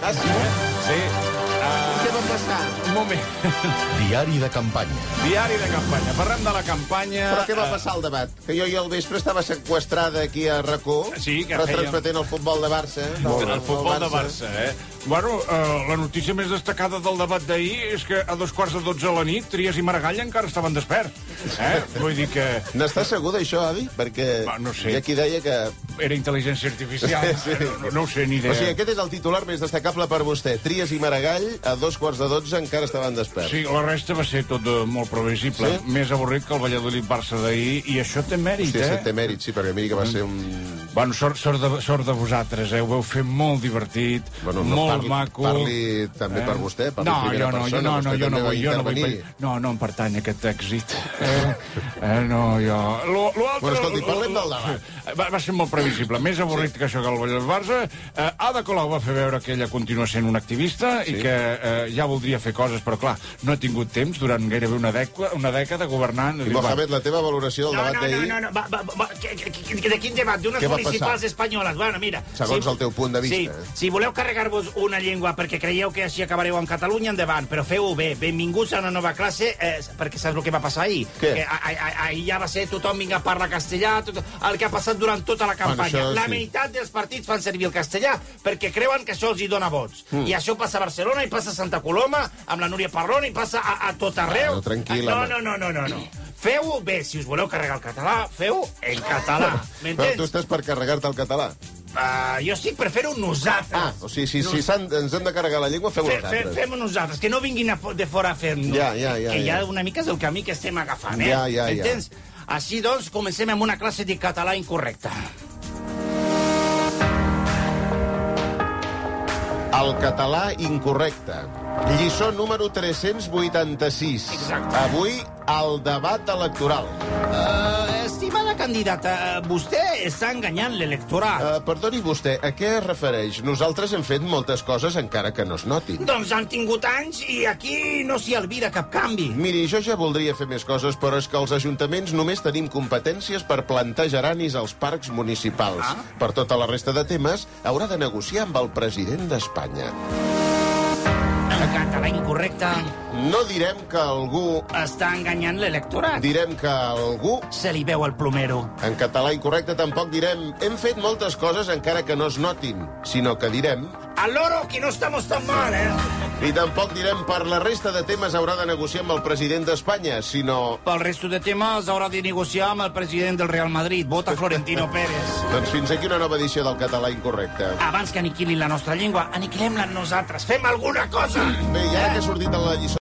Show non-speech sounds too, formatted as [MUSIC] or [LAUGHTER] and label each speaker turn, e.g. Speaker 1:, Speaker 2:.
Speaker 1: Ah, sí?
Speaker 2: Sí. Uh,
Speaker 1: Què va passar?
Speaker 2: un moment.
Speaker 3: [LAUGHS] Diari de campanya.
Speaker 2: Diari de campanya. Parlem de la campanya... eh,
Speaker 1: Però què va passar al debat? Que jo i el vespre estava sequestrada aquí a RAC1,
Speaker 2: Sí, que
Speaker 1: retransmetent el futbol de Barça. eh?
Speaker 2: El, el futbol de Barça, eh? Bueno, eh, la notícia més destacada del debat d'ahir és que a dos quarts de dotze de la nit Trias i Maragall encara estaven despert. Eh? Vull dir que
Speaker 1: N'estàs segur d'això, avi? Perquè
Speaker 2: Va, no sé.
Speaker 1: hi ha qui deia que...
Speaker 2: era intel·ligència artificial.
Speaker 1: Sí.
Speaker 2: No, no ho sé ni idea.
Speaker 1: O sigui, aquest és el titular més destacable per vostè. Trias i Maragall, a dos quarts de dotze, encara estaven desperts.
Speaker 2: Sí, la resta va ser tot eh, molt previsible.
Speaker 1: Sí?
Speaker 2: Més avorrit que el Valladolid-Barça d'ahir, i això té mèrit,
Speaker 1: Sí,
Speaker 2: eh?
Speaker 1: sí, té mèrit, sí, perquè miri que va ser un...
Speaker 2: Bueno, sort, sort, de, sort de vosaltres, eh? Ho vau fer molt divertit,
Speaker 1: Bueno, no,
Speaker 2: molt
Speaker 1: parli-
Speaker 2: maco.
Speaker 1: parli també per vostè, parli
Speaker 2: Eh? no,
Speaker 1: en primera
Speaker 2: jo no,
Speaker 1: persona,
Speaker 2: jo no, no,
Speaker 1: vostè
Speaker 2: jo no vull,
Speaker 1: també va
Speaker 2: jo no vull.
Speaker 1: intervenir.
Speaker 2: No, no em pertany aquest èxit. Eh, eh no, jo... Lo, lo altre,
Speaker 1: Bueno, escolti,
Speaker 2: lo-
Speaker 1: parlem del
Speaker 2: lo-
Speaker 1: debat.
Speaker 2: Va, va ser molt previsible, més avorrit sí. que això que el Valladolid-Barça. Eh, Ada Colau va fer veure que ella continua sent una activista sí. i que eh, ja voldria fer coses, però clar, no ha tingut temps durant gairebé una, dècada, una dècada governant.
Speaker 1: I,
Speaker 2: Diu, va,
Speaker 1: Mohamed, la teva valoració del
Speaker 4: No,
Speaker 1: debat
Speaker 4: no,
Speaker 1: d'ahir,
Speaker 4: no, no, no. Va, va, va, que- que- que- de quin debat? D'unes
Speaker 1: Què va
Speaker 4: municipals
Speaker 1: passar?
Speaker 4: espanyoles. Bueno, mira...
Speaker 1: Segons el teu punt de vista,
Speaker 4: Sí,
Speaker 1: eh?
Speaker 4: si voleu carregar-vos una llengua perquè creieu que així acabareu amb Catalunya, endavant, però feu-ho bé. Benvinguts a una nova classe, eh, perquè saps el que va passar ahir?
Speaker 1: Què?
Speaker 4: Que a- a- a- ahir ja va ser tothom vinga a parlar castellà, tot, el que ha passat durant tota la campanya.
Speaker 1: això
Speaker 4: la
Speaker 1: sí.
Speaker 4: meitat dels partits fan servir el castellà perquè creuen que això els hi dona vots.
Speaker 1: Mm.
Speaker 4: I això passa a Barcelona, i passa a Santa Coloma, amb la Núria Parrón, i passa a, a tot arreu.
Speaker 1: Ah, no, tranquil,
Speaker 4: no,
Speaker 1: home.
Speaker 4: no, no, no, no, no. Feu-ho bé, si us voleu carregar el català, feu-ho en català.
Speaker 1: però tu
Speaker 4: M'entens?
Speaker 1: estàs per carregar-te el català.
Speaker 4: Uh, jo estic per fer-ho nosaltres.
Speaker 1: Ah, o sigui, si, si s'han- ens hem de carregar la llengua, feu-ho
Speaker 4: Fe, fe,
Speaker 1: vosaltres.
Speaker 4: Fem-ho nosaltres, que no vinguin a, fo- de fora a fer-nos.
Speaker 1: Ja, ja, ja,
Speaker 4: que
Speaker 1: ja.
Speaker 4: ja una mica és el camí que estem agafant, eh?
Speaker 1: Ja, ja, ja.
Speaker 4: M'entens? Així, doncs, comencem amb una classe de català incorrecta.
Speaker 1: El català incorrecte. Lliçó número 386.
Speaker 4: Exacte.
Speaker 1: Avui, el debat electoral.
Speaker 4: Uh, estimada candidata, eh, vostè està enganyant l'electorat.
Speaker 1: Uh, perdoni vostè, a què es refereix? Nosaltres hem fet moltes coses encara que no es notin.
Speaker 4: Doncs han tingut anys i aquí no s'hi albira cap canvi.
Speaker 1: Miri, jo ja voldria fer més coses, però és que els ajuntaments només tenim competències per plantar geranis als parcs municipals.
Speaker 4: Ah.
Speaker 1: Per tota la resta de temes, haurà de negociar amb el president d'Espanya.
Speaker 4: El català incorrecte
Speaker 1: No direm que algú...
Speaker 4: està enganyant l'electorat.
Speaker 1: Direm que algú...
Speaker 4: Se li veu el plomero.
Speaker 1: En català incorrecte tampoc direm hem fet moltes coses encara que no es notin, sinó que direm...
Speaker 4: Al loro, que no estamos tan mal, eh?
Speaker 1: I tampoc direm per la resta de temes haurà de negociar amb el president d'Espanya, sinó...
Speaker 4: Pel resto de temes haurà de negociar amb el president del Real Madrid. Vota [LAUGHS] Florentino Pérez.
Speaker 1: Doncs fins aquí una nova edició del català incorrecte.
Speaker 4: Abans que aniquilin la nostra llengua, aniquilem-la nosaltres. Fem alguna cosa!
Speaker 1: Bé, i ara que ha sortit de la lliçó...